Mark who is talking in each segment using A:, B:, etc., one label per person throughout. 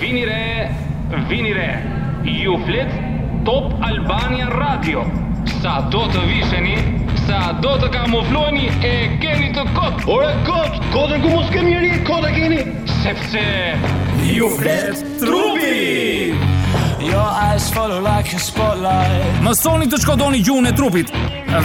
A: Vini re, vini re. Ju flet Top Albania Radio. Sa do të visheni, sa do të kamufloheni e keni të kot,
B: Ore kot, kotën ku mos kemi njëri, kota keni.
A: sepse
C: Ju flet trupi
D: Your eyes follow like a spotlight.
C: Mësoni të shkodoni gjuhën e trupit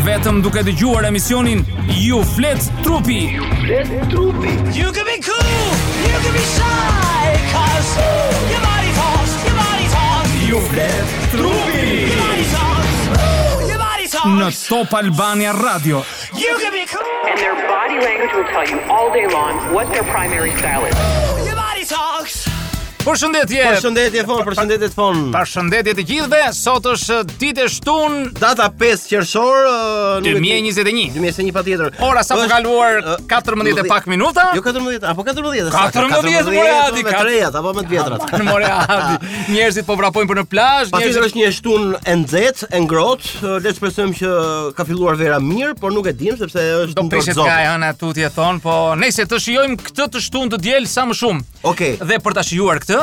C: Vetëm duke dëgjuar emisionin Ju flet trupi
B: Flet trupi.
D: You can be cool, you can be shy, cause ooh, your body talks, your body talks,
C: Ju flet trupi
D: your body talks, ooh, your body
C: Në
D: talks.
C: Top Albania Radio
D: You can be cool,
E: and their body language will tell you all day long what their primary style is.
D: ooh, your body talks.
C: Përshëndetje
B: Përshëndetje fon, përshëndetje fon.
C: Përshëndetje të gjithëve Sot është ditë e shtunë
B: Data 5 qershor ë, nuk e di.
C: 2021
B: 2021 patjetër.
C: Ora sa po
B: Është,
C: kaluar
B: ë,
C: 14 e
B: 12.
C: pak minuta
B: Jo 14, apo 14.
C: 14, more, Adi,
B: me
C: kat-
B: trejat apo me të vjetrat.
C: Në Moreadi Njerëzit po vrapojnë për në plazh
B: Patjetër është një shtunë e nxehtë, e ngrohtë. ë, Le të shpresojmë që ka filluar vera mirë, por nuk e dim sepse është
C: Do
B: ndër
C: prishet
B: zopë.
C: ka hëna tutje thon, po nejse të shijojmë këtë të shtun të diel sa më shumë.
B: Okej.
C: Dhe për ta shijuar këtë,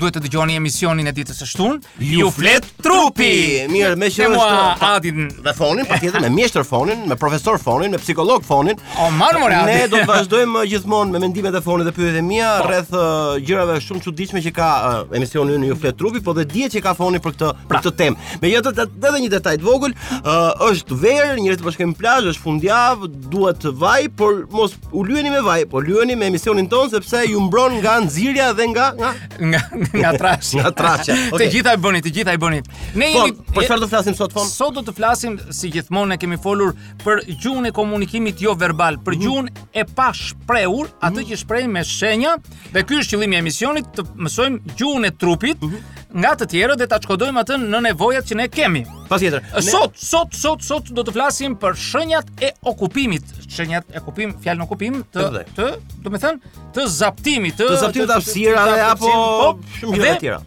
C: duhet të dëgjoni emisionin e ditës së shtunë.
B: Ju flet trupi! Mirë, me që
C: Me mua
B: është-
C: Adin.
B: Dhe fonin, patjetër me mjeshtër fonin, me profesor fonin, me psikolog fonin.
C: O marr more Adin.
B: Ne do të vazhdojmë eh, gjithmonë me mendimet e fonit dhe pyetjet e mia rreth eh, gjërave shumë çuditshme që ka eh, emisioni ynë ju flet trupi, po dhe dihet që ka foni për këtë për këtë temë. Megjithatë edhe një detaj të vogël, eh, është verë, njerëzit po shkojnë në plazh, është fundjavë, duhet të vaj, por mos u lyeni me vaj, por lyeni me emisionin ton sepse ju mbron nga nxirja dhe nga nga
C: Nga nga trashi.
B: Nga trashja,
C: Të
B: okej.
C: gjitha e bëni, të gjitha e bëni. Ne
B: Fon,
C: jemi
B: për çfarë do të flasim sot fon?
C: Sot do të flasim si gjithmonë ne kemi folur për gjuhën e komunikimit jo verbal, për gjuhën e pa shprehur, atë që shprehim me shenja, dhe ky është qëllimi i emisionit të mësojmë gjuhën e trupit nga të tjerët dhe ta shkodojmë atë në nevojat që ne kemi.
B: Patjetër. ne-
C: Sot, sot, sot, sot do të flasim për shenjat e okupimit, shenjat e okupim, fjalën okupim të
B: Të vërtet.
C: të, do të thënë, të zaptimit, të
B: Të zaptimit të hapësirave, apo shumë gjëra
C: gjëra
B: të tjera.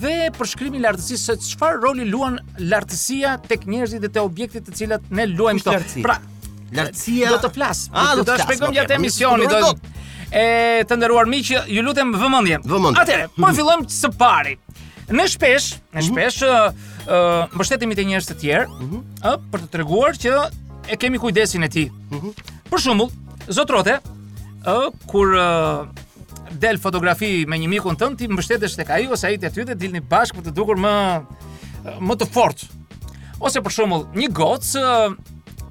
C: dhe për shkrimin e lartësisë se çfarë roli luan lartësia tek njerëzit dhe te objektet të cilat ne luajmë
B: Kush
C: këto.
B: lartësi?
C: Pra,
B: Lartësia-
C: do të flas.
B: Ah, do të
C: ta
B: flas,
C: shpjegojmë
B: okej,
C: gjatë
B: mirë,
C: emisionit
B: mirë,
C: do. E të nderuar miq, ju lutem vëmendje.
B: Vëmendje. Mhm.
C: Atëherë, po fillojmë së pari. Në shpesh, në shpesh ë ë, mbështetemi te njerëz të tjerë,
B: Mhm.
C: ë për të treguar që e kemi kujdesin e tij.
B: Mhm.
C: Për shembull, zotrote, ë kur ë, del fotografi me një mikun tënd, ti mbështetesh tek ai ose ai te ty dhe dilni bashkë për të dukur më më të fortë. Ose për shembull, një gocë ë,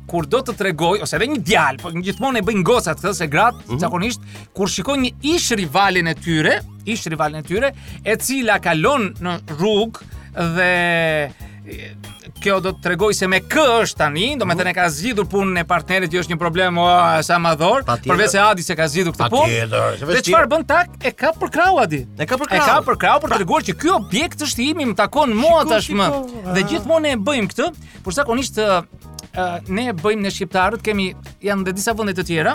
C: kur do të tregoj ose edhe një djalë, po gjithmonë e bëjnë gocat këtë se gratë
B: Mhm.
C: zakonisht kur shikon një ish rivalin e tyre, ish rivalin e tyre, e cila kalon në rrugë dhe e, kjo do të tregoj se me kë është tani, do
B: Mhm.
C: me thënë e ka zgjidhur punën e partnerit, që është një problem o, sa madhor,
B: Patjetër.
C: përveç se Adi se ka zgjidhur këtë punë.
B: Patjetër, se
C: Dhe
B: veç
C: çfarë bën tak? E ka për krau Adi.
B: E ka për
C: E
B: krau.
C: ka për krau për të treguar që ky objekt është i imi, më takon mua
B: Shiko,
C: tashmë.
B: shiko,
C: Dhe
B: a.
C: gjithmonë ne e bëjmë këtë, por zakonisht ë, ë, ne e bëjmë ne shqiptarët, kemi janë dhe disa vende të tjera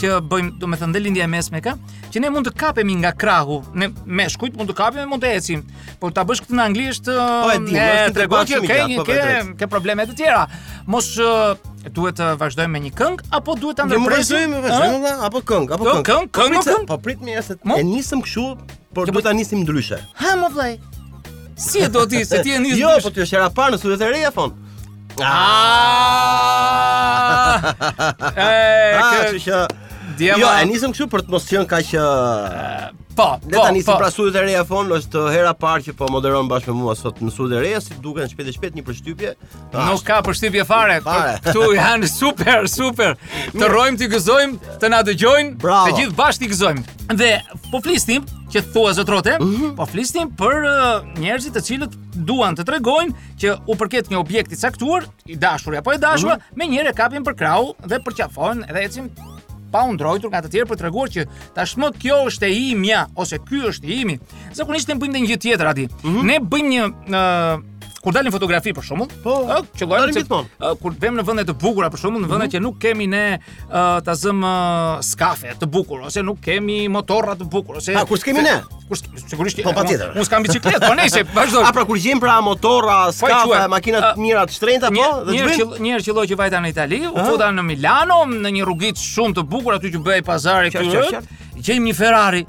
C: që bëjmë, domethënë dhe lindja e mesme ka, që ne mund të kapemi nga krahu, ne meshkujt mund të kapemi, mund të ecim. Po ta bësh këtë në angli është
B: Po, e di, është një
C: tregon
B: tregon
C: që
B: shumë i
C: ke
B: gjatë,
C: një
B: po,
C: ke
B: vërtet.
C: ke probleme të tjera. Mos ë, duhet të vazhdojmë me një këngë apo duhet ta
B: Ne më
C: ndërpresim?
B: vazhdojmë,
C: ë?
B: vazhdojmë valla, apo këngë, apo
C: Jo,
B: këngë.
C: këngë,
B: Po
C: këngë,
B: prit se-
C: këngë.
B: Po prit mirë se
C: Mo?
B: e nisëm kështu, por
C: Jo,
B: do
C: po-
B: ta nisim ndryshe.
C: Ha më vllai. Si e do ti, se ti e nis.
B: Jo, po ti është era parë në studiot e reja fon.
C: Ah! E,
B: Ah,
C: kë-
B: kështu që
C: Djema-
B: Jo, e nisëm kështu për të mos qenë kaq ë,
C: Po,
B: Le
C: po,
B: ta nisim
C: po.
B: pra studiot e reja fon, është hera parë që po moderon bashkë me mua sot në studiot e reja, si duken shpejt e shpejt një përshtypje. Ah,
C: Nuk ka përshtypje fare.
B: Fare.
C: Ktu janë super, super. Të rrojmë, të gëzojmë, të na dëgjojnë,
B: Bravo.
C: të gjithë bashkë të gëzojmë. Dhe po flisnim, që thua zotrote, po flisnim për ë, njerëzit të cilët duan të tregojnë që u përket një objekti caktuar, i dashur apo e dashura, me njëherë e kapin për krau dhe përqafojnë dhe ecin pa u ndrojtur nga të tjerë për treguar që tashmë kjo është e imja ose ky është i imi. Zakonisht ne bëjmë dhe një gjë tjetër aty.
B: Mhm.
C: Ne bëjmë një ë, kur dalim fotografi për shembull,
B: Po,
C: ë, qëllojmë
B: dalim
C: se
B: gjithmonë. Mhm.
C: Ë, kur vëmë në vende të bukura për shembull, në vende që nuk kemi ne ë, ta zëm ë, skafe të bukur ose nuk kemi motorra të bukur ose
B: Ah, kur s'kemi ne?
C: Kur s'ke- sigurisht.
B: Po, patjetër.
C: Unë s'kam bicikletë, po nejse, vazhdo.
B: A pra kur gjejmë pra motorra, skafa,
C: quaj.
B: makina të
C: Ah,
B: mira të shtrenjta
C: Një
B: po, dhe të
C: një herë
B: bëjmë
C: që një herë që lloj që vajta në Itali, u futa në Milano, në një rrugicë shumë të bukur aty që bëhej pazari
B: Qartë,
C: këtu.
B: qartë,
C: Gjejmë një Ferrari.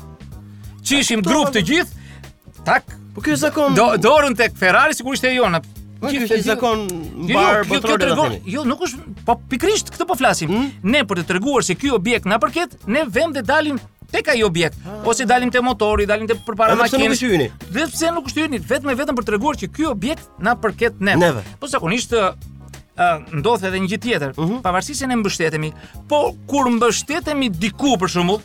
C: Qishim grup të gjithë
F: tak.
B: Po ky është zakon.
F: Do dorën tek Ferrari sigurisht e jona.
B: Po, ky
F: Gjithë-
B: është një
F: gjithë-
B: zakon
F: Jo,
B: mbar
F: jo, kjo- kjo
B: botror.
F: tregon, jo, nuk është, po pikrisht këtë po flasim.
B: Hmm?
F: Ne për të treguar se ky objekt na përket, ne vëm dhe dalim tek ai objekt, ose dalim te motori, dalim te përpara
B: Edhe pse nuk
F: makinës.
B: është hyni.
F: Dhe pse nuk është hyni, vetëm e vetëm për të treguar që ky objekt na përket neve.
B: Neve.
F: Po zakonisht ë, ë, ndodh edhe një gjë tjetër,
B: Mhm.
F: pavarësisht se ne mbështetemi, po kur mbështetemi diku për shembull,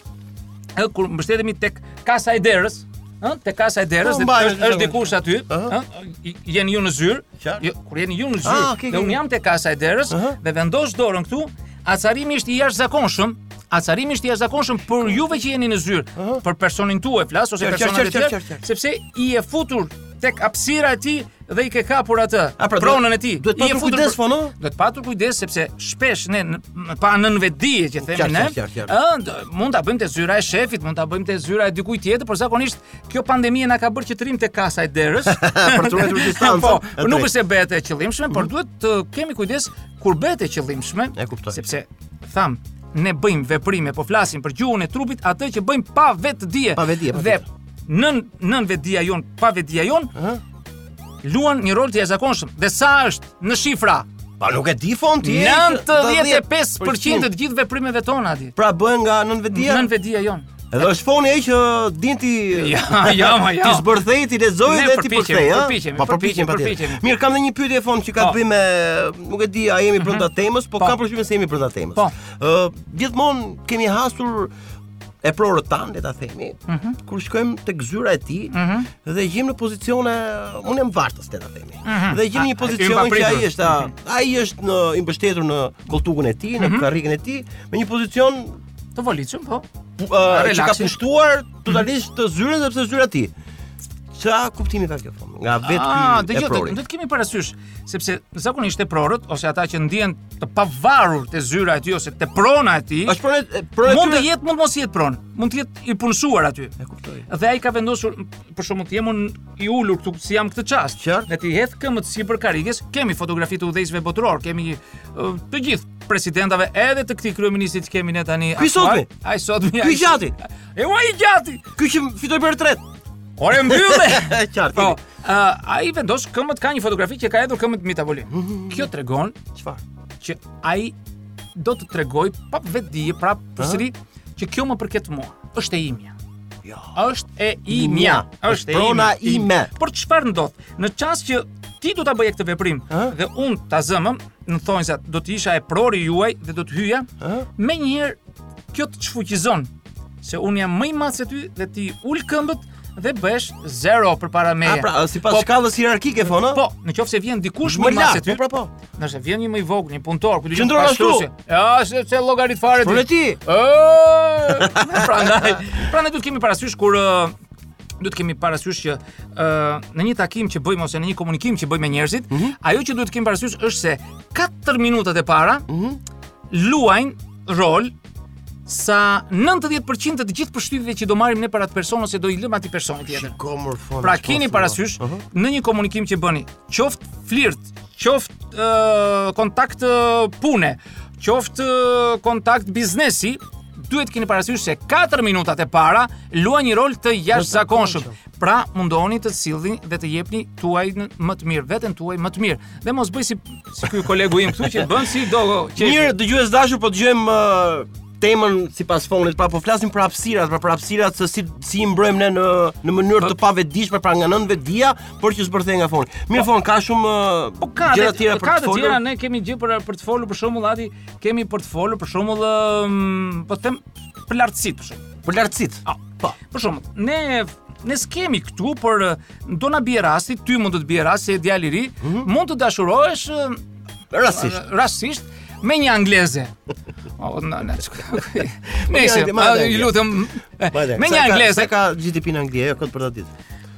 F: ë, kur mbështetemi tek kasa e derës, ë, tek kasa e derës,
B: Po,
F: dhe
B: mbaj,
F: është, është dikush aty,
B: Aha.
F: ë, i- jeni ju në zyrë,
B: Qartë.
F: jo, kur jeni ju në zyrë,
B: Ah, okay,
F: dhe unë
B: okay.
F: jam te kasa e derës
B: Aha.
F: dhe vendos dorën këtu, acarimi është i jashtëzakonshëm. Acarimi është i jashtëzakonshëm për juve që jeni në zyrë, për personin tuaj flas ose
B: Qartë,
F: personat e
B: qartë, qartë,
F: tjerë,
B: qartë, qartë.
F: sepse i e futur tek hapësira e tij dhe i ke kapur atë
B: A, pra,
F: pronën e
B: duhet-
F: tij.
B: duhet
F: I e
B: patur
F: futur
B: kujdes,
F: për-
B: po, no?
F: Duhet patur kujdes sepse shpesh ne në- m- pa nënvetdije që themi
B: Qartë,
F: ne,
B: qartë, qartë, qartë.
F: ë, d- mund ta bëjmë te zyra e shefit, mund ta bëjmë te zyra e dikujt tjetër, por zakonisht kjo pandemia na ka bërë që të rrim te kasa e derës.
B: Për të ruajtur distancën.
F: Po,
B: E
F: nuk
B: drejtë.
F: është se bëhet e qëllimshme, por duhet të kemi kujdes kur bëhet e qëllimshme.
B: Mhm. E kuptoj.
F: Sepse tham, ne bëjmë veprime, po flasim për gjuhën e trupit, atë që bëjmë pa vetë dije.
B: Pa vetdije, pa
F: Dhe
B: tjetër.
F: nën nën vetdia jon, pa vetdia jon, luan një rol të jashtëzakonshëm. Dhe sa është në shifra?
B: Pa nuk e di fonti. e,
F: 95%
B: 10%.
F: të gjithë veprimeve tona aty.
B: Pra bëhen nga nënvedia.
F: Nën vetdia jon.
B: Edhe është foni ai që din ti
F: Ja, ja, ma, ja.
B: Ti zbërthej, ti lexoj
F: Ne
B: dhe ti
F: përpiqemi,
B: përkthej, ha?
F: përpiqemi,
B: Po
F: përpiqemi,
B: përpiqem patjetër.
F: përpiqemi.
B: Mirë, kam edhe një pyetje fon që ka
F: Po.
B: të bëjë me, nuk e di, a jemi brenda temës, po
F: Po.
B: kam përshtypjen se jemi brenda temës.
F: Po.
B: Ë, gjithmonë kemi hasur e prorët tanë, le ta themi,
F: Mhm.
B: kur shkojmë tek zyra e tij dhe gjim në pozicione, unë jam vartës, le ta themi. Dhe gjim në një
F: Mhm. A-
B: pozicion
F: a-
B: që ai
F: papritur.
B: është, a- ai është në i mbështetur në koltukun e tij,
F: Mhm.
B: në karrikën e tij, me një pozicion
F: Të volicëm, po.
B: uh, që ka
F: Relaxi.
B: pushtuar totalisht të zyrën sepse zyra ti. Qa kuptimi ka kjo fam? Nga vetë
F: Ah,
B: ky e
F: dëgjoj,
B: prori.
F: do të kemi parasysh, sepse zakonisht teprorët ose ata që ndihen të pavarur te zyra e tij ose te prona e tij,
B: Është pronë e- pronë
F: mund të
B: tyre-
F: jetë, mund mos jetë pronë, mund të jetë i punësuar aty.
B: E kuptoj.
F: Dhe ai ka vendosur, për shembull, të jem unë i ulur këtu si jam këtë çast.
B: Qartë.
F: Ne ti hedh këmbët sipër karrikës, kemi fotografi të udhëheqësve botëror, kemi ë, të gjithë presidentave edhe të këtij kryeministit që kemi ne tani.
B: Ky
F: aktual.
B: sotmi?
F: Ai sotmi.
B: Ky
F: ai-
B: gjati?
F: E ua i gjati.
B: Ky që fitoi për tret.
F: Ore mbyllë.
B: Qartë,
F: Po,
B: jemi.
F: ë, ai vendos këmbët ka një fotografi që ka hedhur këmbët mbi tavolinë. Kjo tregon
B: Çfarë?
F: që ai do të tregoj pa vetë dije, pra përsëri që kjo më përket mua. Është e imja.
B: Jo.
F: Është e imja.
B: Është
F: Është e
B: prona
F: imja.
B: ime.
F: Por çfarë ndodh? Në çast që ti do ta bëje këtë veprim
B: Ë?
F: dhe unë ta zëmëm, në thonjë se do të isha e prori juaj dhe do të hyja,
B: Ë?
F: me njëherë kjo të çfuqizon se unë jam më i madh se ty dhe ti ul këmbët dhe bësh zero përpara
B: A
F: meje.
B: pra, sipas
F: Po,
B: shkallës hierarkike fon, a?
F: Po, në qoftë se vjen dikush
B: Më
F: më i madh se
B: lartë,
F: ty.
B: po, pra, po.
F: Nëse vjen një më i vogël, një punëtor, ku
B: Qëndron ashtu.
F: Ja, se se llogarit fare
B: Por e ti?
F: Ë, prandaj, prandaj duhet kemi parasysh kur ë, duhet kemi parasysh që ë në një takim që bëjmë ose në një komunikim që bëjmë me njerëzit,
B: Mhm.
F: ajo që duhet kemi parasysh është se 4 minutat e para
B: Mhm.
F: luajnë rol sa 90% të gjithë përshtypjeve që do marrim ne para të personit ose do i lëmë atij personi tjetër.
B: Komor fon.
F: Pra keni parasysh
B: po. Mhm.
F: në një komunikim që bëni, qoftë flirt, qoftë ë, kontakt ë, pune, qoftë ë, kontakt biznesi, duhet keni parasysh se 4 minutat e para luajnë një rol të jashtëzakonshëm. Pra mundoheni të sillni dhe të jepni tuaj më të mirë, veten tuaj më të mirë. Dhe mos bëj si si ky kolegu im këtu që bën si do qefi.
B: Mirë, dëgjues dashur, po dëgjojmë ë, temën sipas fonit, pra po flasim për hapësirat, pra për hapësirat se si si i mbrojmë ne në në mënyrë të pavetdijshme, pra nga nënvetdia, por që zbërthej nga foni. Mirë fon, ka shumë ë,
F: Po ka
B: gjëra
F: gjëra
B: të tjera për
F: ka
B: të
F: të
B: folur.
F: tjera ne kemi gjë për për të folur për shembull Adi, kemi për të folur për shembull ëm, po të them për lartësitë për shembull.
B: Për lartësit.
F: Ah,
B: Po.
F: Për shembull, ne ne s'kemi këtu, por eh, do na bie rasti, ty mund të të bie rasti, se djalë i ri,
B: Mhm.
F: mund të dashurohesh eh,
B: Rastisht.
F: rastisht me një angleze. O, na, na, shku- Nëse,
B: angle- ma edhe
F: a, ju
B: angle.
F: lutem, eh, me një angleze,
B: Sa ka GDP në Angli, ajo kot për datë ditë.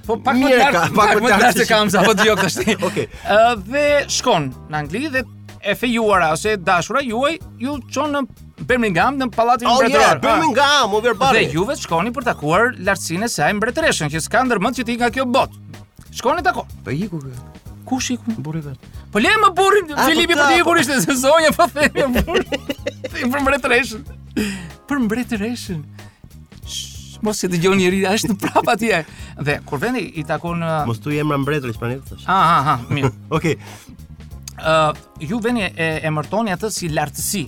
F: po pak më
B: mirë
F: lart,
B: ka,
F: pak më lart se
B: që-
F: kam sa po dëgjoj këtë.
B: Okej.
F: Ë, Dhe shkon në Angli dhe e fejuara ose e dashura juaj ju çon në Birmingham në pallatin
B: Oh yeah,
F: mbretëror. Ah.
B: Birmingham, over
F: Dhe
B: Barry.
F: juve shkoni për takuar lartësinë e saj mbretëreshën që s'ka ndërmend që ti nga kjo botë. Shkoni tako.
B: Po iku kë,
F: Ku shiku?
B: burri vet.
F: Po le më burrin
B: po
F: Filipi
B: ta,
F: po ti
B: po.
F: kur ishte se zonja po themi burr. Për mbretëreshën. Për mbretëreshën. Shh, mos e dëgjon njëri, a është në prap atje. Dhe kur vendi i takon uh,
B: Mos tu emra mbretërit pranit tash.
F: Ah, ah, ah, mirë.
B: Okej.
F: Ë, ju veni e emërtoni atë si lartësi.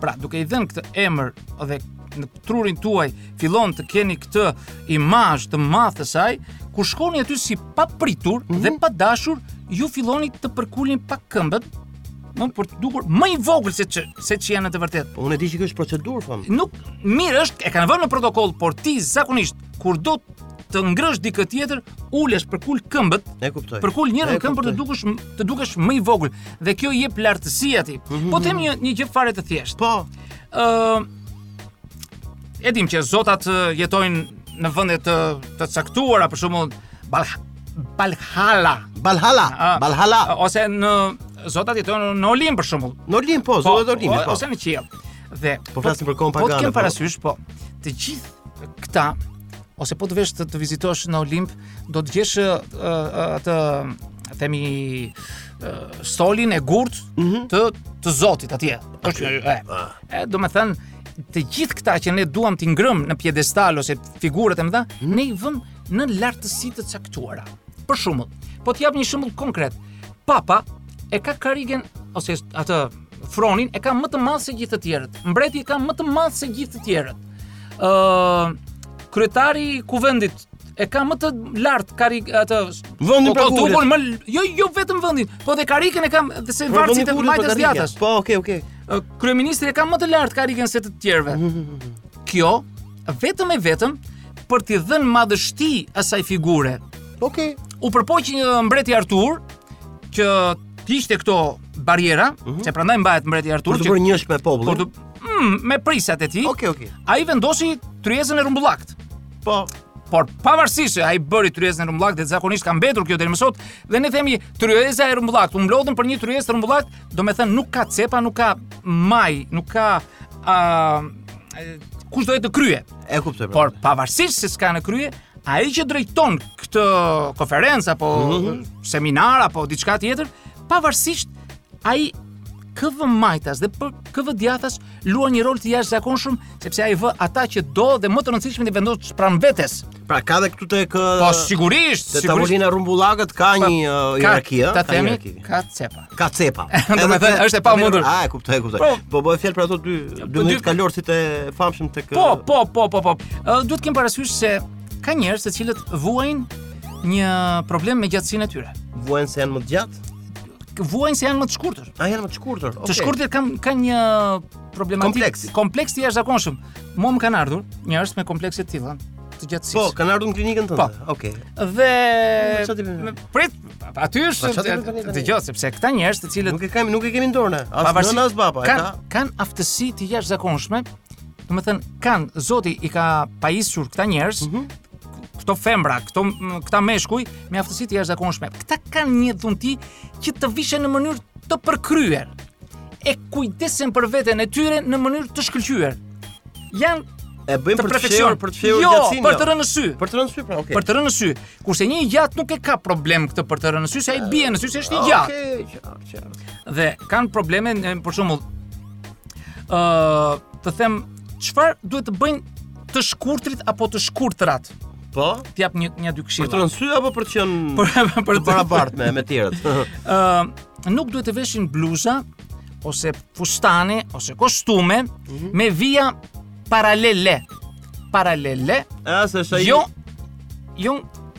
F: Pra, duke i dhënë këtë emër dhe në trurin tuaj fillon të keni këtë imazh të madh të saj, kur shkoni aty si pa pritur dhe pa dashur, ju filloni të përkulin pak këmbët, më për të dukur më i vogël se që, se që janë në të vërtetë.
B: Po Unë e di që kjo është procedurë fam.
F: Nuk mirë është, e kanë vënë në protokoll, por ti zakonisht kur do të ngrësh dikë tjetër, ulesh përkul këmbët,
B: E kuptoj.
F: përkul njërin
B: E
F: këmbë për të
B: kuptoj.
F: dukesh të dukesh më i vogël dhe kjo i jep lartësi atij. Po them një një gjë fare të
B: Mhm,
F: thjeshtë.
B: Po.
F: Ë e dim që zotat ë, jetojnë në vende të të caktuara, për shembull Balha, Balhala
B: Balhala,
F: a,
B: Balhala.
F: ose në zotat jetojnë në Olim për shembull.
B: Në Olim po, zotë Olim.
F: o-
B: Po.
F: Ose në qiell. Dhe
B: Po flasim për kohën
F: Po të
B: pagane,
F: kem
B: po.
F: parasysh, po. Të gjithë këta ose po të vesh të, të vizitosh në Olimp, do të gjesh ë, ë, atë themi ë, stolin e gurt të të Zotit Mhm. atje. Ah. Është e, e do të thënë të gjithë këta që ne duam t'i ngrëm në piedestal ose figurat e mëdha, ne i vëm në lartësi të caktuara. Për shembull, po të jap një shembull konkret. Papa e ka karigen ose atë fronin e ka më të madh se gjithë të tjerët. Mbreti e ka më të madh se gjithë të tjerët. ë kryetari i kuvendit e ka më të lartë kari atë
B: Vendin
F: po,
B: për
F: po,
B: kurrë.
F: tukun më l- jo jo vetëm vendin, po dhe karikën e ka dhe se varësit e majtës djatës.
B: Po, okay, okay.
F: Ë, kryeministri e ka më të lartë karikën se të tjerëve. Kjo vetëm e vetëm për t'i dhënë madhështi asaj figure.
B: Okej.
F: U përpoq një mbreti Artur që t'ishte këto barjera, që prandaj mbahet mbreti Artur
B: Mhm. Për të
F: që
B: bërë njësh me
F: kur të
B: popullin.
F: mm, me prisat e tij.
B: Okej, okej.
F: Ai vendosi tryezën e rumbullakt.
B: Po.
F: Por pavarësisht se ai bëri tryezën e rumbullakt dhe zakonisht ka mbetur kjo deri më sot dhe ne themi tryeza e rumbullakt, u mblodën për një tryezë të rumbullakt, do me thënë nuk ka cepa, nuk ka maj, nuk ka a, e, kush do e të krye.
B: E kuptoj. pra.
F: Por pavarësisht se s'ka në krye, ai që drejton këtë konferencë apo
B: Mhm.
F: seminar apo diçka tjetër, pavarësisht ai KV majtas dhe për KV djathas luan një rol të jashtëzakonshëm sepse ai vë ata që do dhe më të rëndësishmin i vendos pranë vetes.
B: pra ka dhe këtu tek ë,
F: Po sigurisht,
B: Te
F: sigurisht.
B: tavolina rumbullakët ka
F: Pa-
B: një uh, hierarki, ë,
F: ta
B: ka
F: themi,
B: hierarki.
F: ka cepa.
B: Ka cepa.
F: Do me
B: Edhe
F: thënë,
B: te-
F: është e pamundur.
B: A, e kuptoj, e kuptoj.
F: Po.
B: Po bëhet fjalë për ato dy dy
F: dy-
B: minutë kalorësit e famshëm tek uh, ë,
F: Po, po, po, po, po. Ë, Duhet të kem parasysh se ka njerëz të cilët vuajnë një problem me gjatësinë e tyre.
B: vuajnë se janë më të gjatë.
F: Vuajnë se janë më të shkurtër.
B: A janë më të shkurtër.
F: Të
B: okej.
F: shkurtit kanë kanë një problematik
B: Kompleks.
F: kompleks të jashtëzakonshëm. Mua më kanë ardhur njerëz me komplekse të tilla të gjatësisë.
B: Po, kanë ardhur në klinikën tënde.
F: Po.
B: Okej.
F: dhe
B: Po, çfarë ti bën?
F: me- prit aty
B: Po, çfarë ti bën tani,
F: është
B: tani?
F: dëgjoj sepse këta njerëz të cilët
B: Nuk e kemi, nuk e kemi në dorë ne. As
F: pavarësi-
B: nëna as baba, e
F: kanë
B: ka.
F: kanë aftësi të jashtëzakonshme. Do të thënë kanë Zoti i ka pajisur këta njerëz
B: Mhm.
F: këto femra, këto m, këta meshkuj me aftësi të jashtëzakonshme. Këta kanë një dhunti që të vishen në mënyrë të përkryer. E kujdesen për veten e tyre në mënyrë të shkëlqyer. Janë
B: E bëjmë
F: të
B: për të
F: perfeksion,
B: fshehur, për të fshehur
F: jo,
B: gjatësinë.
F: për të rënë në sy.
B: Për të rënë sy, pra, okej.
F: Për të rënë në sy. Kurse një i gjatë nuk e ka problem këtë për të rënë në sy, se ai bie në sy se
B: Ah,
F: është i gjatë
B: Okej, qartë, qartë.
F: dhe kanë probleme në- për shembull ë të them çfarë duhet të bëjnë të shkurtrit apo të shkurtrat.
B: Po.
F: T'jap një një dy
B: Për të
F: këshilla.
B: rënë sy apo për të qenë
F: Për për
B: të barabart me me tjerët.
F: ë nuk duhet të veshin bluza ose fustane ose kostume
B: Mhm.
F: me vija paralele. Paralele,
B: A se është ai?
F: jo jo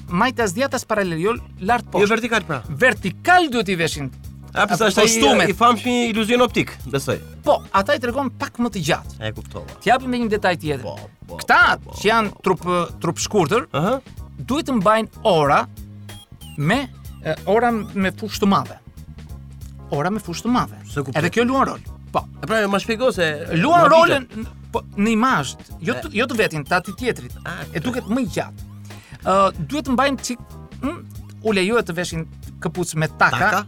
F: majtas djatas paralele, jo lart
B: Jo
F: poshtë.
B: vertikal pra.
F: Vertikal duhet i veshin.
B: A pse është
F: Kostumet.
B: ai i famshmi iluzion optik, besoj.
F: Po, ata i tregon pak më të gjatë.
B: E kuptova.
F: T'japim me një detaj tjetër.
B: Po, po,
F: Këta
B: po, po,
F: që janë trup trup shkurtër,
B: Aha.
F: duhet të mbajnë ora me e, ora me fushë të madhe. Ora me fushë të madhe.
B: Se kuptoj.
F: Edhe kjo luan rol. Po,
B: E pra, më shpjego se
F: luan
B: ma
F: rolën
B: ditë.
F: n- po, në imazh, jo të, jo të vetin, ta të tjetrit.
B: A,
F: E duket më i gjatë. Ë duhet të mbajnë çik mm, u lejohet të veshin këpuc me taka,
B: Taka?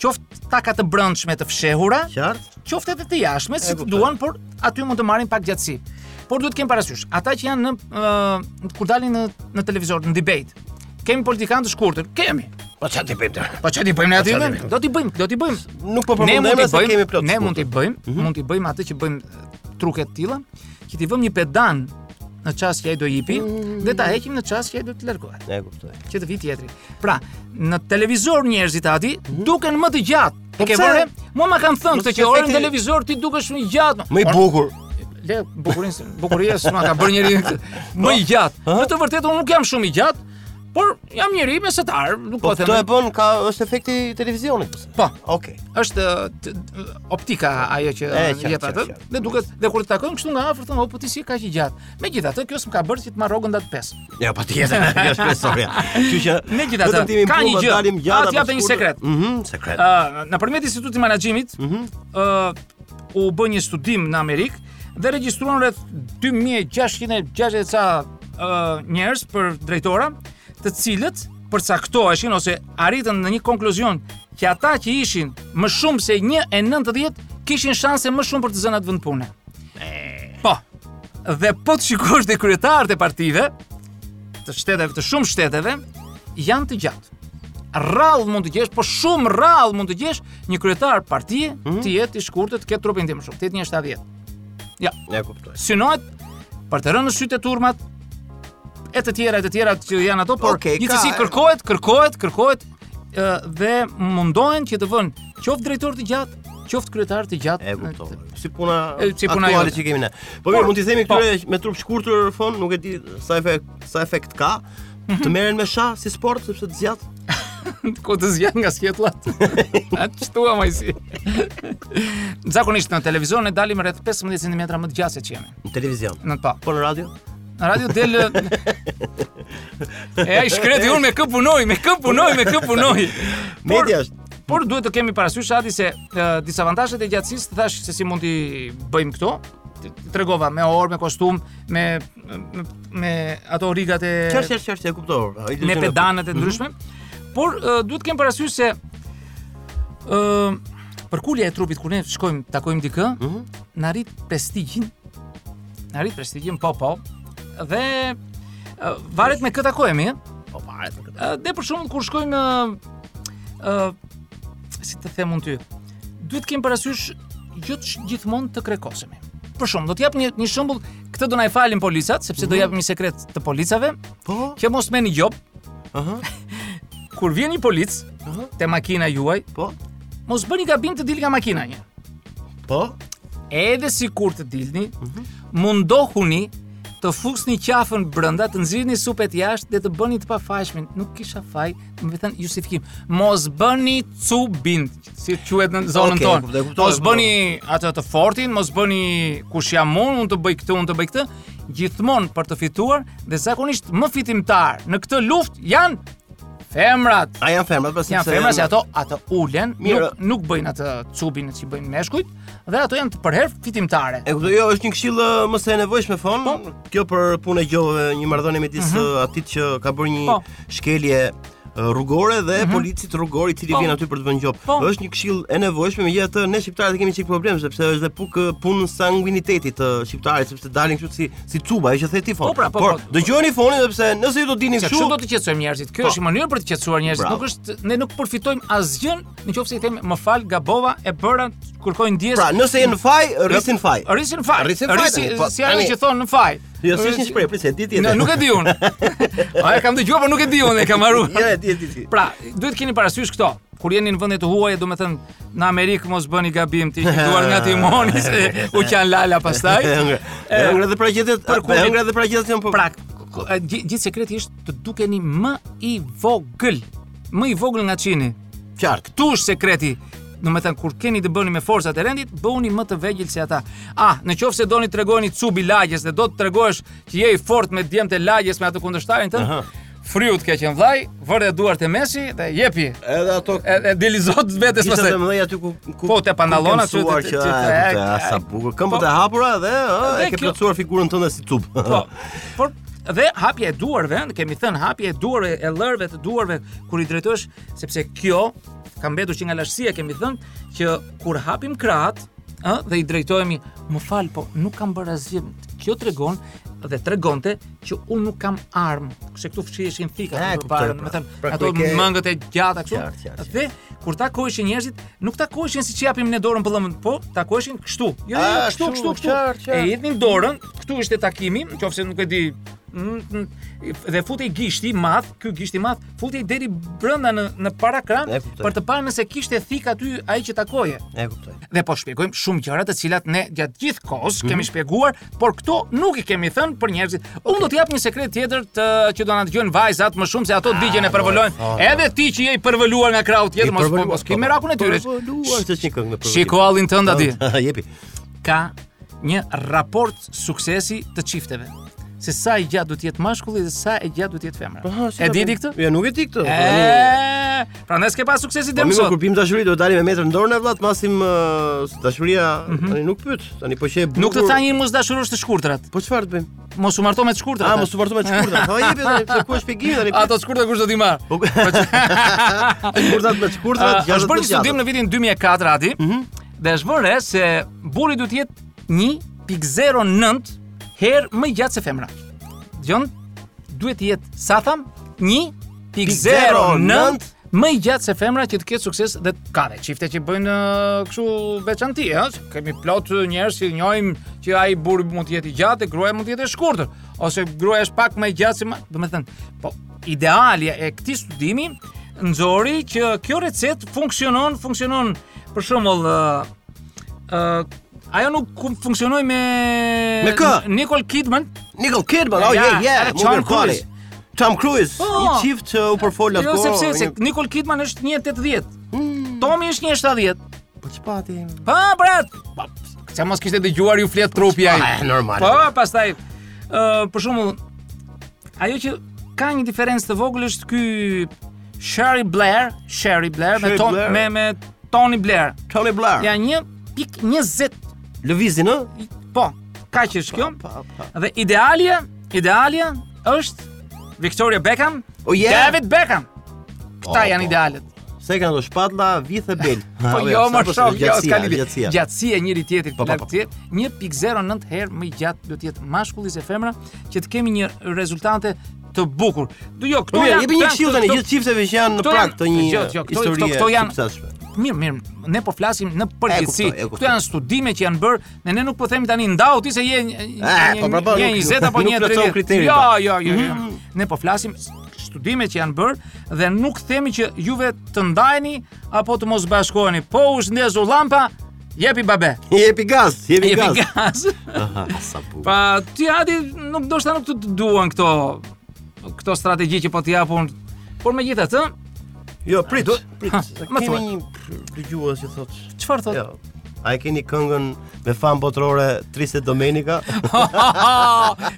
F: qoftë taka të brëndshme të fshehura,
B: Qartë?
F: qoftë edhe të jashtme, si të
B: kuptoj.
F: duan, por aty mund të marrin pak gjatësi. Por duhet të kemi parasysh, ata që janë në ë, kur dalin në në televizor në debate, kemi politikanë të shkurtër, kemi.
B: Po çfarë ti bëjmë tani?
F: Po çfarë ti bëjmë ne aty?
B: çfarë ti
F: ne?
B: bëjmë?
F: Do t'i bëjmë, do t'i bëjmë.
B: Nuk po
F: Ne mund
B: përmendem
F: t'i
B: se kemi
F: bëjmë,
B: plot. Mhm.
F: ne mund t'i
B: skuqe.
F: bëjmë, mund t'i bëjmë atë që bëjmë e, truke të tilla, që t'i vëmë një pedan në çast që ai do jipi dhe
B: Mm.
F: ta heqim në çast që ai do të largohet,
B: E kuptoj.
F: që të vi tjetri. Pra, në televizor njerëzit ati duken më të gjatë.
B: Po
F: E ke
B: pse?
F: vore? Mua ma kanë thënë
B: Mos
F: këtë
B: e
F: që orën
B: theti-
F: në televizor ti dukesh më i gjatë.
B: Më i
F: Or- Po,
B: bukur.
F: Le bukurin, bukuria s'ma ka bërë njëri këtë. më i gjatë. Në të vërtetë unë nuk jam shumë i gjatë, por jam njëri mesatar, nuk
B: Po
F: po
B: këtë e
F: them.
B: bën ka është efekti i televizionit. pse?
F: Po,
B: Okej.
F: është t- t- optika ajo që
B: E, qartë,
F: jep atë.
B: qartë, qartë.
F: Dhe duket dhe kur të takojmë kështu nga afër thonë, "O, po ti si je kaq i gjatë." Megjithatë, kjo s'm ka bërë që të marr rrogën datë 5.
B: Ja, Jo, patjetër, kjo është presoria. Kështu që
F: Megjithatë,
B: vetëm t'jemi
F: ka
B: mbullë,
F: një gjë.
B: dalim gjata.
F: Atë jap
B: pas
F: një
B: shkurtër.
F: sekret. Ah.
B: Mhm, sekret.
F: Ë, nëpërmjet Institutit të Menaxhimit, ëh, u bë një studim në Amerikë dhe regjistruan rreth 2660 ca ë, njerëz për drejtora, të cilët përcaktoheshin ose arritën në një konkluzion që ata që ishin më shumë se 1 e 90 kishin shanse më shumë për të zënë atë vend pune. Po. Dhe po të shikosh te kryetarët e partive, të shteteve, të shumë shteteve, janë të gjatë rrallë mund të gjesh, po shumë rrallë mund të gjesh një kryetar partie
B: Hmm?
F: të jetë i shkurtët, të ketë trupin tim shumë, 870.
B: Ja kuptoj.
F: Synohet për të rënë në sytë e turmat e të tjera e të tjera që janë ato, por
B: Okej, ka-
F: gjithsesi kërkohet, kërkohet, kërkohet ë, dhe mundohen që të vënë qoftë drejtor të gjatë, qoftë kryetar të gjatë.
B: E kuptoj. Si puna
F: E, si puna
B: aktuale
F: jote.
B: që kemi ne. Po mirë,
F: Por,
B: mund t'i themi
F: po.
B: këtyre me trup shkurtër fon, nuk e di sa efekt sa efekt ka.
F: Mhm.
B: Të merren me shah si sport sepse të zgjat.
F: Ko të zgjan nga skjetllat. Atë shtua majsi. Zakonisht në televizion ne dalim rreth 15 cm më të gjatë se që jemi.
B: Në televizion.
F: Në pa.
B: Po në radio?
F: Në radio del E ai shkreti unë me kë punoj, me kë punoj, me kë punoj. Por-
B: Media është.
F: Por duhet të kemi parasysh Adi se uh, disavantazhet e gjatësisë thash se si mund t'i bëjmë këto. T- Tregova me orë, me kostum, me me, me ato rigat e
B: Çfarë çfarë çfarë e kuptoj. Ai Mhm.
F: me
B: lexon-
F: pedanet e ndryshme. Por ë, duhet të kemi parasysh se ë për kulja e trupit kur ne shkojmë takojmë dikë,
B: Mhm.
F: na arrit prestigjin. Na arrit prestigjin po po. Dhe ë, varet me kë takohemi, ë.
B: Po varet. me këtë.
F: Ë, Dhe për shembull kur shkojmë ë ë si të them unë ty, duhet të kemi parasysh jo të sh- gjithmonë të krekosemi. Për shembull, do të jap një një shembull, këtë do na e falin policat, sepse
B: Mhm.
F: do japim një sekret të policave,
B: Po.
F: që mos merrni gjop.
B: Aha.
F: Kur vjen një polic
B: Aha.
F: te makina juaj,
B: Po.
F: mos bëni gabim të dili nga makina një.
B: Po.
F: Edhe si kur të dilni, mundohuni të fusni qafën brenda, të nxirrni supet jashtë dhe të bëni të pafajshmin. Nuk kisha faj, më thënë justifikim. Mos bëni cubin, si quhet në zonën
B: Okej,
F: tonë.
B: kuptoj, kuptoj,
F: mos bëni atë të fortin, mos bëni kush jam unë, unë të bëj këtë, unë të bëj këtë. Gjithmonë për të fituar dhe zakonisht më fitimtar në këtë luftë janë femrat.
B: A janë femrat pas
F: Janë femra se ato ato ulen,
B: Mirë.
F: nuk nuk bëjnë atë cubin që bëjnë meshkujt, dhe ato janë të përherë fitimtare.
B: E kuptoj, jo, është një këshill ë, më se e nevojshme fon.
F: Po.
B: Kjo për punë e gjove, një marrëdhënie midis ë, atit që ka bërë një
F: Mhm. Po. Mhm.
B: shkelje ë, rrugore dhe policit rrugor i cili
F: Po.
B: vjen aty për të vënë gjob.
F: Po.
B: Është një këshill e nevojshme, megjithatë ne shqiptarët e kemi çik problem sepse është dhe puk punë sanguinitetit të shqiptarit sepse dalin kështu si si cuba, ajo që the ti fon.
F: Po, pra, po,
B: Por
F: po.
B: dëgjoni fonin sepse nëse ju do dini
F: Se
B: kështu,
F: kështu do të qetësojmë njerëzit. Kjo
B: Po.
F: është një mënyrë për të qetësuar njerëzit.
B: Bravo.
F: Nuk është ne nuk përfitojmë asgjë nëse i themi më fal gabova e bëra kërkojnë ndjes.
B: pra, nëse je në faj, rrisin faj.
F: Rrisin faj.
B: Rrisin faj,
F: Rrisi-
B: tani, po,
F: si ajo
B: tani-
F: që thon në faj.
B: Jo, s'është një shpreh, prit se e di ti.
F: Në- Nuk e di unë. A e kam dëgjuar, por nuk e di unë, e kam harruar.
B: Jo, e di e di ti.
F: Pra, duhet keni parasysh këto. Kur jeni në vendet huaja, do me thënë, në Amerikë mos bëni gabim ti që duar nga timoni se u qanë lala pastaj.
B: E ëngra. E ëngra dhe praqetet,
F: për
B: e
F: kundin-
B: ëngra dhe praqetet janë po.
F: Pra, ku- e, gji- gjithë sekreti është të dukeni më i vogël, më i vogël nga qini.
B: qartë.
F: Këtu është sekreti. Do me thënë, kur keni të bëni me forcat e rendit, bëuni më të vegjël se ata. Ah, në qoftë se doni të regojni cubi lagjes dhe do të tregosh që je i fort me djemt e lagjes me atë kundështarin tënë, Fryu të keqen vllaj, vërë duart e mesi dhe jepi.
B: Edhe ato
F: E, e dili zot vetes
B: Ishte
F: pastaj.
B: të mëdhej aty ku ku
F: Po, te pantallona
B: ku ke
F: që-
B: mësuar
F: që-
B: që
F: që-
B: e,
F: e,
B: kuptoj, a, sa
F: e,
B: bukur. Këmbët
F: po.
B: e hapura dhe ë,
F: Dhe
B: e ke
F: kjo-
B: plotësuar figurën tënde si tub.
F: Po. Por dhe hapja e duarve, ne kemi thënë hapja e duarve e lërve të duarve kur i drejtosh, sepse kjo ka mbetur që nga lashësia kemi thënë që kur hapim krahat, ë dhe i drejtohemi, më fal, po nuk kam bërë asgjë. Kjo tregon dhe tregonte që unë nuk kam armë. Kështu këtu fshiheshin fika
B: E, kuptoj,
F: përpara,
B: pra.
F: domethënë
B: Pra,
F: ato
B: ku i ke-
F: mëngët e gjata
B: Qartë, qartë,
F: kështu. Dhe kur takoheshin njerëzit, nuk takoheshin siç japim ne dorën pëllëm, po takoheshin kështu. Jo, jo,
B: A, kështu,
F: kështu, kështu,
B: qartë,
F: kështu.
B: qartë.
F: E hedhin dorën, këtu ishte takimi, nëse nuk e di mm, mm, dhe futej gishti i madh, ky gishti i madh futej deri brenda në në para kran
B: E, kuptoj.
F: për të parë nëse kishte thik aty ai që takoje.
B: E kuptoj.
F: Dhe po shpjegojmë shumë gjëra të cilat ne gjatë gjithë kohës
B: Mhm.
F: kemi shpjeguar, por këto nuk i kemi thënë për njerëzit. Unë do t'jap një sekret tjetër të që do na dëgjojnë vajzat më shumë se ato
B: Ah,
F: digjen
B: po,
F: e përvolojnë. Edhe ti që je i përvoluar nga krau tjetër, mos po- mos ke merakun e tyre.
B: Përvoluar të një këngë në përvolim.
F: Shiko allin tënd aty.
B: Jepi.
F: Ka një raport suksesi të çifteve. Se sa i gjatë duhet të jetë mashkulli dhe sa e gjatë duhet të jetë femra.
B: Po,
F: E di di këtë?
B: Jo, nuk e di këtë.
F: E, pra ne s'ke pas suksesi
B: Po
F: deri më
B: mirë,
F: sot.
B: kur bim dashuri do dalim me metër në dorën e vllat, masim ë, s- dashuria tani nuk pyet. Tani po që e bukur.
F: Mhm. Nuk të tha një mos dashurësh të shkurtrat.
B: Po çfarë të bëjmë?
F: Mos u marto me të shkurtrat.
B: A mos u vërtet me të shkurtrat. Po jepi tani pse ku është shpjegimi tani?
F: Ato të shkurtë kush do t'i marr?
B: Po, Shkurtrat me të Mhm. shkurtrat,
F: Ë, Është bërë një studim në vitin 2004 ati, dhe është bërë e se burri duhet jetë 1.09 herë më i gjatë se femra. Dëgjon? Duhet të jetë sa tham? 1.09 më i gjatë se femra që të ketë sukses dhe ka dhe çifte që bëjnë ë, kështu veçanti, ëh, kemi plot ë, njerëz që njohim që ai burri mund të jetë i gjatë, e gruaja mund të jetë e shkurtër, ose gruaja është pak më e gjatë se ma, domethënë, po idealja e këtij studimi nxori që kjo recetë funksionon, funksionon për shembull ë ë ajo nuk kum- funksionoi me
B: Me kë?
F: Nicole Kidman,
B: Nicole Kidman, oh
F: Ja,
B: yeah, yeah,
F: edhe
B: më
F: Tom
B: mirë pali.
F: Cruise.
B: Tom Cruise,
F: Po.
B: një çift që u përfol atko.
F: jo sepse se
B: një-
F: Nicole Kidman është 1.80. Tomi është 1.70.
B: po çpati.
F: Pa, brat. Pa, Se Po, mos kishte dëgjuar ju flet trupi ai.
B: Pa, e, normal.
F: Po, pastaj ë për shembull ajo që ka një diferencë të vogël është ky Sherry Blair, Sherry Blair me
B: Sherry
F: ton,
B: Blair.
F: me me Tony Blair.
B: Tony Blair.
F: Ja 1.20.
B: Lëvizin, ë?
F: Po, kaq është kjo. Dhe idealja, idealja është Victoria Beckham,
B: Oh, yeah. Oh, po.
F: David Beckham. Këta janë idealet.
B: Se kanë do shpatlla, vith e bel.
F: Po
B: Ah,
F: jo
B: sa
F: më
B: po
F: shok, jo
B: gjatësia,
F: s'ka lidhje.
B: gjatësia.
F: Gjatësia e njëri tjetrit
B: Po, po,
F: larg
B: po.
F: tjetrit, 1.09 herë më i gjatë do të jetë mashkulli se femra, që të kemi një rezultate të bukur. Do jo,
B: Po
F: këto
B: mirë,
F: janë
B: jepi një
F: këta-
B: këshill tani
F: këto-
B: gjithë çifteve që janë në
F: këto
B: prag
F: janë-
B: të një
F: Jo, jo, këto-
B: historie
F: këto- këto janë-
B: suksesshme.
F: Mirë, mirë, ne po flasim në përgjithësi.
B: kuptoj, e kuptoj.
F: Këto janë studime që janë bërë, ne ne nuk po themi tani ndau ti se je një-
B: Eh,
F: një
B: po, po, po,
F: një
B: nuk-
F: 20 apo
B: nuk
F: një
B: plotson
F: 30.
B: kriterin,
F: Jo,
B: po.
F: jo, jo, jo. Ne po flasim s- studime që janë bërë dhe nuk themi që juve të ndajni apo të mos bashkoheni. Po u shndezur llampa, jepi babe.
B: Jepi gaz, jepi
F: Jepi
B: gaz.
F: gaz.
B: Aha, sa bukur.
F: pa ti hadi nuk do shta nuk të të duan këto këto strategji që po t'i japun. Por megjithatë,
B: Jo, prit, prit.
F: Ha, më
B: Kemi
F: thuaj.
B: një dëgjues që thotë,
F: çfarë thotë?
B: jo. A e keni këngën me fan botërore Triste Domenica?
F: Po.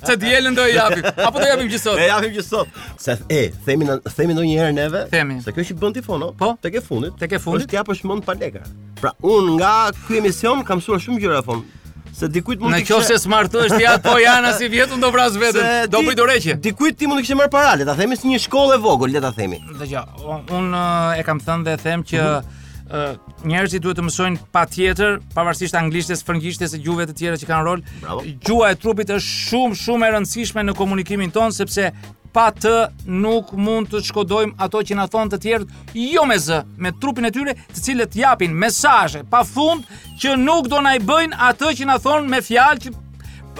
F: Se dielën do i japim, apo do japim gjithë sot?
B: Ne japim që sot. Se e, themi na- themi ndonjëherë neve
F: Themi.
B: se kjo që bën ti fono,
F: Po.
B: tek e fundit.
F: Tek e fundit.
B: Është t'ja për shmend pa lekra. Pra unë nga ky emision kam mësuar shumë gjëra fon. Se dikujt mund
F: Në
B: t'i
F: qoftë se smartohesh ti atë po jana si vjetun do vras
B: Se
F: veten. Do
B: di-
F: bëj dorëqe.
B: Dikujt ti mund të kishe marrë para, le ta themi si një shkollë e vogël, le ta themi.
F: Dëgjoj, unë e kam thënë dhe them që ë, njerëzit duhet të mësojnë patjetër, pavarësisht anglishtes, frëngjishtes e gjuhëve të tjera që kanë rol.
B: Bravo.
F: Gjuha e trupit është shumë shumë e rëndësishme në komunikimin ton sepse pa të nuk mund të shkodojmë ato që na thonë të tjerët jo me zë, me trupin e tyre, të cilët japin mesazhe pa fund që nuk do na i bëjnë atë që na thonë me fjalë që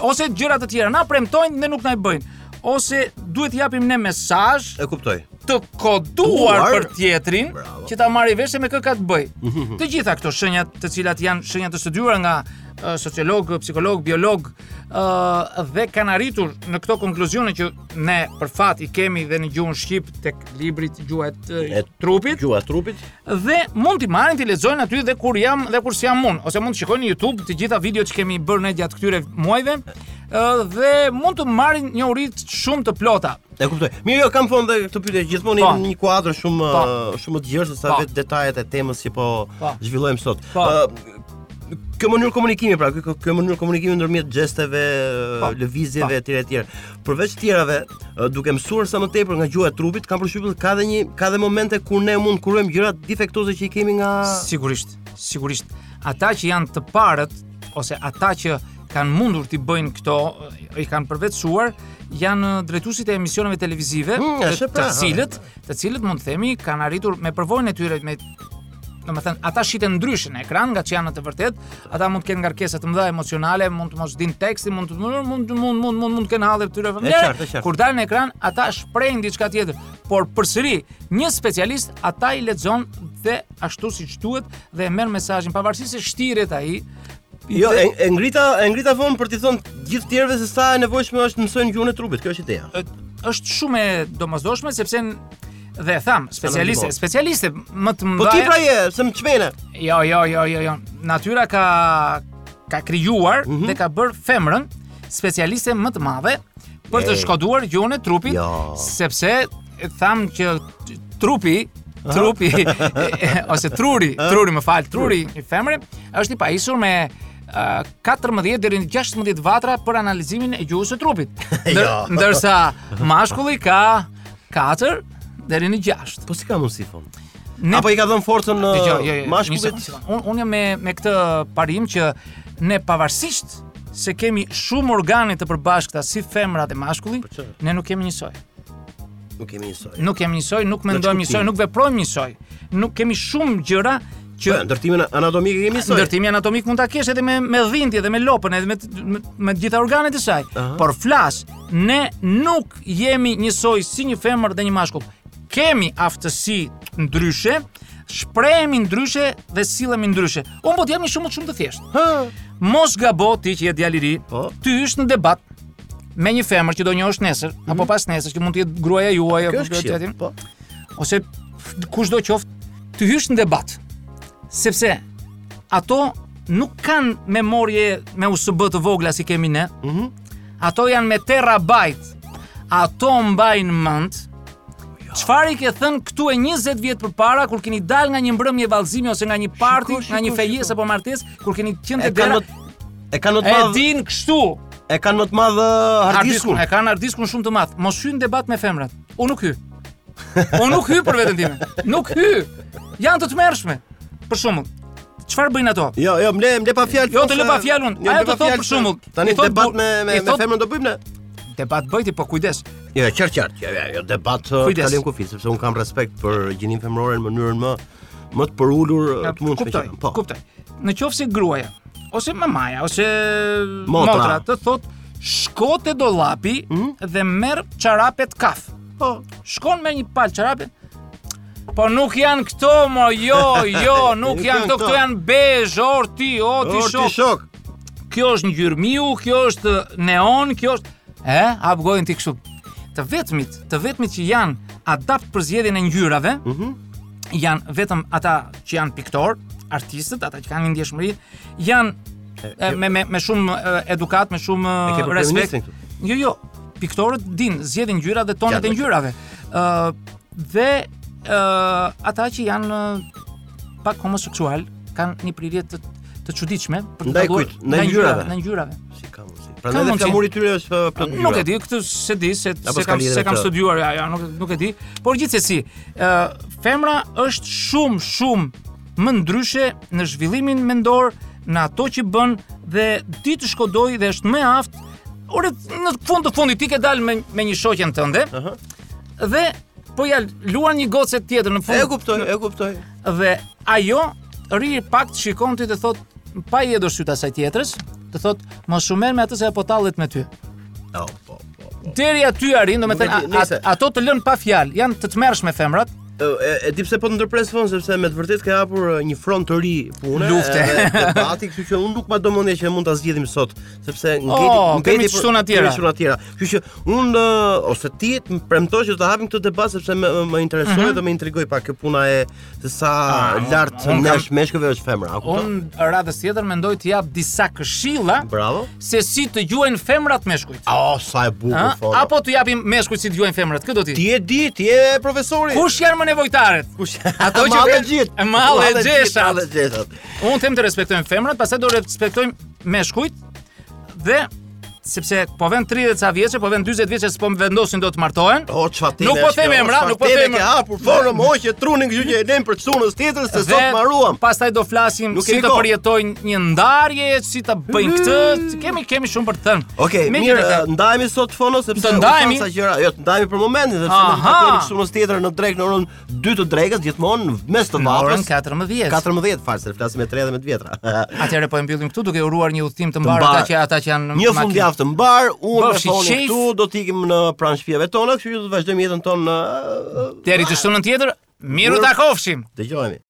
F: ose gjëra të tjera na premtojnë dhe nuk na i bëjnë ose duhet japim ne mesazh
B: E kuptoj.
F: të koduar
B: Duar.
F: për tjetrin
B: Bravo.
F: që ta marrë vesh se me kë ka të bëj. Të gjitha këto shenja të cilat janë shenja të studiuara nga ë, sociolog, psikolog, biolog ë, dhe kanë arritur në këto konkluzione që ne për fat i kemi dhe në gjuhën shqip tek libri i gjuhës
B: E
F: e trupit
B: Gjua e trupit.
F: dhe mund t'i marrin t'i lexojnë aty dhe kur jam dhe kur s'jam unë ose mund të shikojnë në YouTube të gjitha videot që kemi bërë ne gjatë këtyre muajve ë, dhe mund të marrin një urit shumë të plota.
B: E kuptoj. Mirë, jo kam thonë dhe këtë pyetje gjithmonë
F: Po.
B: jemi në një kuadër shumë
F: Po.
B: uh, shumë më të gjerë se sa
F: Po.
B: vetë detajet e temës që po
F: Po.
B: zhvillojmë sot.
F: Po.
B: Ë, kjo mënyrë komunikimi pra, kjo, kjo mënyrë komunikimi ndërmjet gjesteve, eh,
F: Po. Po.
B: lëvizjeve etj etj. Përveç tjerave, ë, duke mësuar sa më tepër nga gjuha e trupit, kam përshtypur se ka edhe një ka edhe momente kur ne mund kurojmë gjëra defektuoze që i kemi nga
F: Sigurisht, sigurisht. Ata që janë të parët ose ata që kanë mundur t'i bëjnë këto, i kanë përvetësuar, janë drejtuesit e emisioneve televizive,
B: Mm,
F: të-
B: është e pra,
F: të
B: ha.
F: cilët, të cilët mund të themi kanë arritur me përvojën e tyre me do të thënë ata shiten ndryshe në ekran nga që janë në të vërtetë, ata mund të kenë ngarkesa të mëdha emocionale, mund të mos dinë tekstin, mund të mund mund mund mund mund, mund të kenë hallet këtyre
B: qartë, e qartë.
F: familjare. Kur dalin në ekran, ata shprehin diçka tjetër, por përsëri një specialist ata i lexon dhe ashtu siç duhet dhe e merr mesazhin pavarësisht se shtiret ai.
B: Jo,
F: dhe-
B: e, e ngrita, e ngrita vonë për t'i thënë gjithë tjerëve se sa e nevojshme është të mësojnë gjuhën e trupit. Kjo është ideja.
F: ë- është shumë e domosdoshme sepse n- dhe e tham, specialiste,
B: ndihmon.
F: specialiste më të mëdha.
B: Po ti pra je, se më çmene.
F: Jo, jo, jo, jo, jo. Natyra ka ka krijuar dhe ka bërë femrën specialiste më të madhe për të
B: Ej.
F: shkoduar gjuhën e trupit,
B: Jo.
F: sepse e tham që t- trupi trupi ose truri, truri më fal, truri i femrës është i pajisur me ë, 14 deri në 16 vatra për analizimin e gjuhës së trupit. Ndër,
B: Jo.
F: Ndërsa mashkulli ka 4 deri në 6.
B: Po si ka mundsi fon?
F: Ne
B: Apo i ka dhënë forcën uh, në
F: Dgjoj, jo, jo,
B: mashkullit?
F: një sekundë. Unë un jam me me këtë parim që ne pavarësisht se kemi shumë organe të përbashkëta si femra dhe mashkulli,
B: çfarë?
F: ne nuk kemi njësoj.
B: Nuk kemi njësoj.
F: Nuk kemi njësoj, nuk mendojmë njësoj,
B: kuptim.
F: nuk veprojmë njësoj. Nuk kemi shumë gjëra
B: Po,
F: që
B: ndërtimin anatomik e kemi njësoj.
F: ndërtimi anatomik mund ta kesh edhe me me dhindje dhe me lopën edhe me t- me, me gjitha organet e saj. Por flas, ne nuk jemi njësoj si një femër dhe një mashkull. Kemi aftësi ndryshe, shprehemi ndryshe dhe sillemi ndryshe. Unë po të jam një shumë shumë të thjeshtë.
B: Ha.
F: Mos gabo ti që je djalë i ri,
B: Po.
F: ty është në debat me një femër që do njohësh nesër apo pas nesër që mund të jetë gruaja juaj
B: Mhm. Kjo është
F: apo gjë
B: këshillë.
F: tjetër
B: Po.
F: ose kushdo qoftë, të hysh në debat. Sepse ato nuk kanë memorje me USB të vogla si kemi ne.
B: Mhm.
F: Ato janë me terabajt. Ato mbajnë mend.
B: Jo.
F: Çfarë i ke thënë këtu e 20 vjet përpara kur keni dalë nga një mbrëmje vallëzimi ose nga një parti,
B: Shiko,
F: nga një
B: shiko,
F: fejes
B: shiko.
F: apo martesë, kur keni qenë
B: E
F: të
B: kanë
F: dera,
B: më t- e kanë më të
F: e
B: madh.
F: din kështu.
B: E kanë më të madh uh, hardiskun.
F: E kanë ardiskun shumë të madh. Mos hyn debat me femrat. Unë nuk hy. Unë nuk hy për veten time. Nuk hy. Janë të tmerrshme. Për shembull, çfarë bëjnë ato?
B: Jo, jo, mle, mle pa fjalë.
F: Jo,
B: fon,
F: të lë
B: se-
F: pa fjalën.
B: Jo,
F: Ajo
B: mle
F: të
B: pa
F: thotë
B: fjalë,
F: për
B: se-
F: shembull,
B: Tani
F: i thotë
B: debat
F: bu-
B: me me
F: i
B: me
F: thotë-
B: femrën do bëjmë ne.
F: Debat bëjti, po kujdes.
B: Jo, qartë qartë. Jo, jo, jo, debat uh,
F: Kujdes.
B: kalim kufi, sepse un kam respekt për gjinin femërore në mënyrën më më të përulur uh, të mundshme. që
F: Kuptoj,
B: kam.
F: kuptoj. Në qoftë se gruaja ose mamaja ose
B: Motra.
F: të thotë shko te dollapi dhe merr çarapet kaf.
B: Po.
F: Shkon me një palë çarape. Po nuk janë këto, mo, jo, jo, nuk
B: Nuk
F: janë
B: janë
F: këto, këto
B: këto.
F: janë bezh, orti, o ti
B: Or, Oh, ti
F: shok.
B: shok.
F: Kjo është ngjyrë miu, kjo është uh, neon, kjo është e hap gojën ti kështu. Të vetmit, të vetmit që janë adapt për zgjedhjen e ngjyrave,
B: Mhm.
F: janë vetëm ata që janë piktor, artistët, ata që kanë një ndjeshmëri, janë e, me me me shumë e, edukat, me shumë uh,
B: E ke për
F: respekt.
B: feministin këtu?
F: Jo, jo. Piktorët din, zgjedhin ngjyrat dhe tonet
B: Gjatë,
F: e ngjyrave. Ë dhe ë ata që janë ë, pak homoseksual kanë një prirje të të çuditshme për të
B: Ndaj
F: dalluar
B: kujt? Ndaj ngjyrave?
F: Ndaj ngjyrave.
B: Si ka mundsi?
F: Ka
B: Prandaj edhe
F: mundsi.
B: flamuri i tyre është uh, plot ngjyra.
F: Nuk e di, këtë se di se
B: Apo s'ka
F: se kam
B: lidhje
F: se
B: me
F: kam
B: këtë.
F: studiuar, ja, ja, nuk nuk e di. Por gjithsesi, ë femra është shumë shumë më ndryshe në zhvillimin mendor, në ato që bën dhe di të shkodoj dhe është më aft. Ore në fund të fundit ti ke dalë me me një shoqen tënde. Ëh. Dhe po ja luan një gocë tjetër në fund.
B: E kuptoj, e kuptoj.
F: Dhe ajo rri pak të shikon ti të thot pa i hedhur syt asaj tjetrës, të thot mos u merr me atë se apo tallet me ty.
B: Jo, po, po. po.
F: Deri aty arrin, do me
B: Nuk e
F: thënë,
B: di,
F: a-
B: nëse-
F: a- ato të lënë pa fjalë, janë të tmerrshme femrat.
B: E, e di pse po të ndërpres fon sepse me të vërtetë ka hapur e, një front të ri pune.
F: Lufte.
B: edhe Debati, kështu që unë nuk ma mendje që mund ta zgjidhim sot, sepse ngeti
F: Oh,
B: ngeti
F: kemi
B: për-
F: çuna tjera.
B: Kemi çuna tjera. Kështu që unë e, ose ti të më premtosh që të hapim këtë debat sepse më më interesoi
F: Mhm.
B: dhe më intrigoi pak kjo puna e se sa
F: Ah,
B: lart
F: unë kam-
B: nesh meshkëve është femra, a kupton?
F: Unë radhës tjetër mendoj të jap disa këshilla
B: Bravo.
F: se si të juajnë femrat meshkujt.
B: Oh, sa e bukur
F: Ë?
B: fon.
F: Apo të japim meshkujt si të juajnë femrat, këtë do ti.
B: ti e di, ti e profesori.
F: Kush janë më nevojtarët?
B: Kush?
F: Ato që
B: mallë
F: vren-
B: gjithë.
F: E mallë e
B: Mallë
F: gjeshat.
B: mallë e gjeshat.
F: Unë them të respektojmë femrat, pastaj do respektojmë meshkujt dhe sepse po vën 30 ca vjeçë, po vën 40 vjeçë s'po më vendosin do të martohen.
B: O çfatime.
F: Nuk po them emra, nuk po them.
B: Ke hapur forën moqe trunin kështu që e lëm për çunës tjetër se sot
F: Dhe
B: mbaruam.
F: Pastaj do flasim
B: Nuk
F: si
B: kemi
F: të
B: kohë.
F: përjetojnë një ndarje, si të bëjnë këtë, kemi kemi shumë për të thënë.
B: Okej,
F: Me
B: mirë, uh,
F: gjithë
B: e, ndajemi sot fono sepse
F: Të
B: u
F: ndajemi?
B: thanë sa gjëra, jo, të ndajemi për momentin sepse ne
F: Aha.
B: do të kemi çunës tjetër në drek në orën 2 të drekës gjithmonë në mes të
F: këtë, në orën
B: vaprës.
F: 14.
B: 14 falë, se flasim me 3 dhe me të vjetra.
F: Atëherë po e mbyllim këtu duke uruar një udhtim të mbar ata
B: mbar.
F: që ata që janë
B: Një
F: makinë.
B: fundjavë të mbar, unë me
F: Bëfshi
B: fonin
F: qejf.
B: këtu do të ikim në pranë shtëpive tona, kështu që do të vazhdojmë jetën tonë në
F: Deri të shtunën tjetër, miru
B: Mirë.
F: takofshim.
B: dëgjojmë.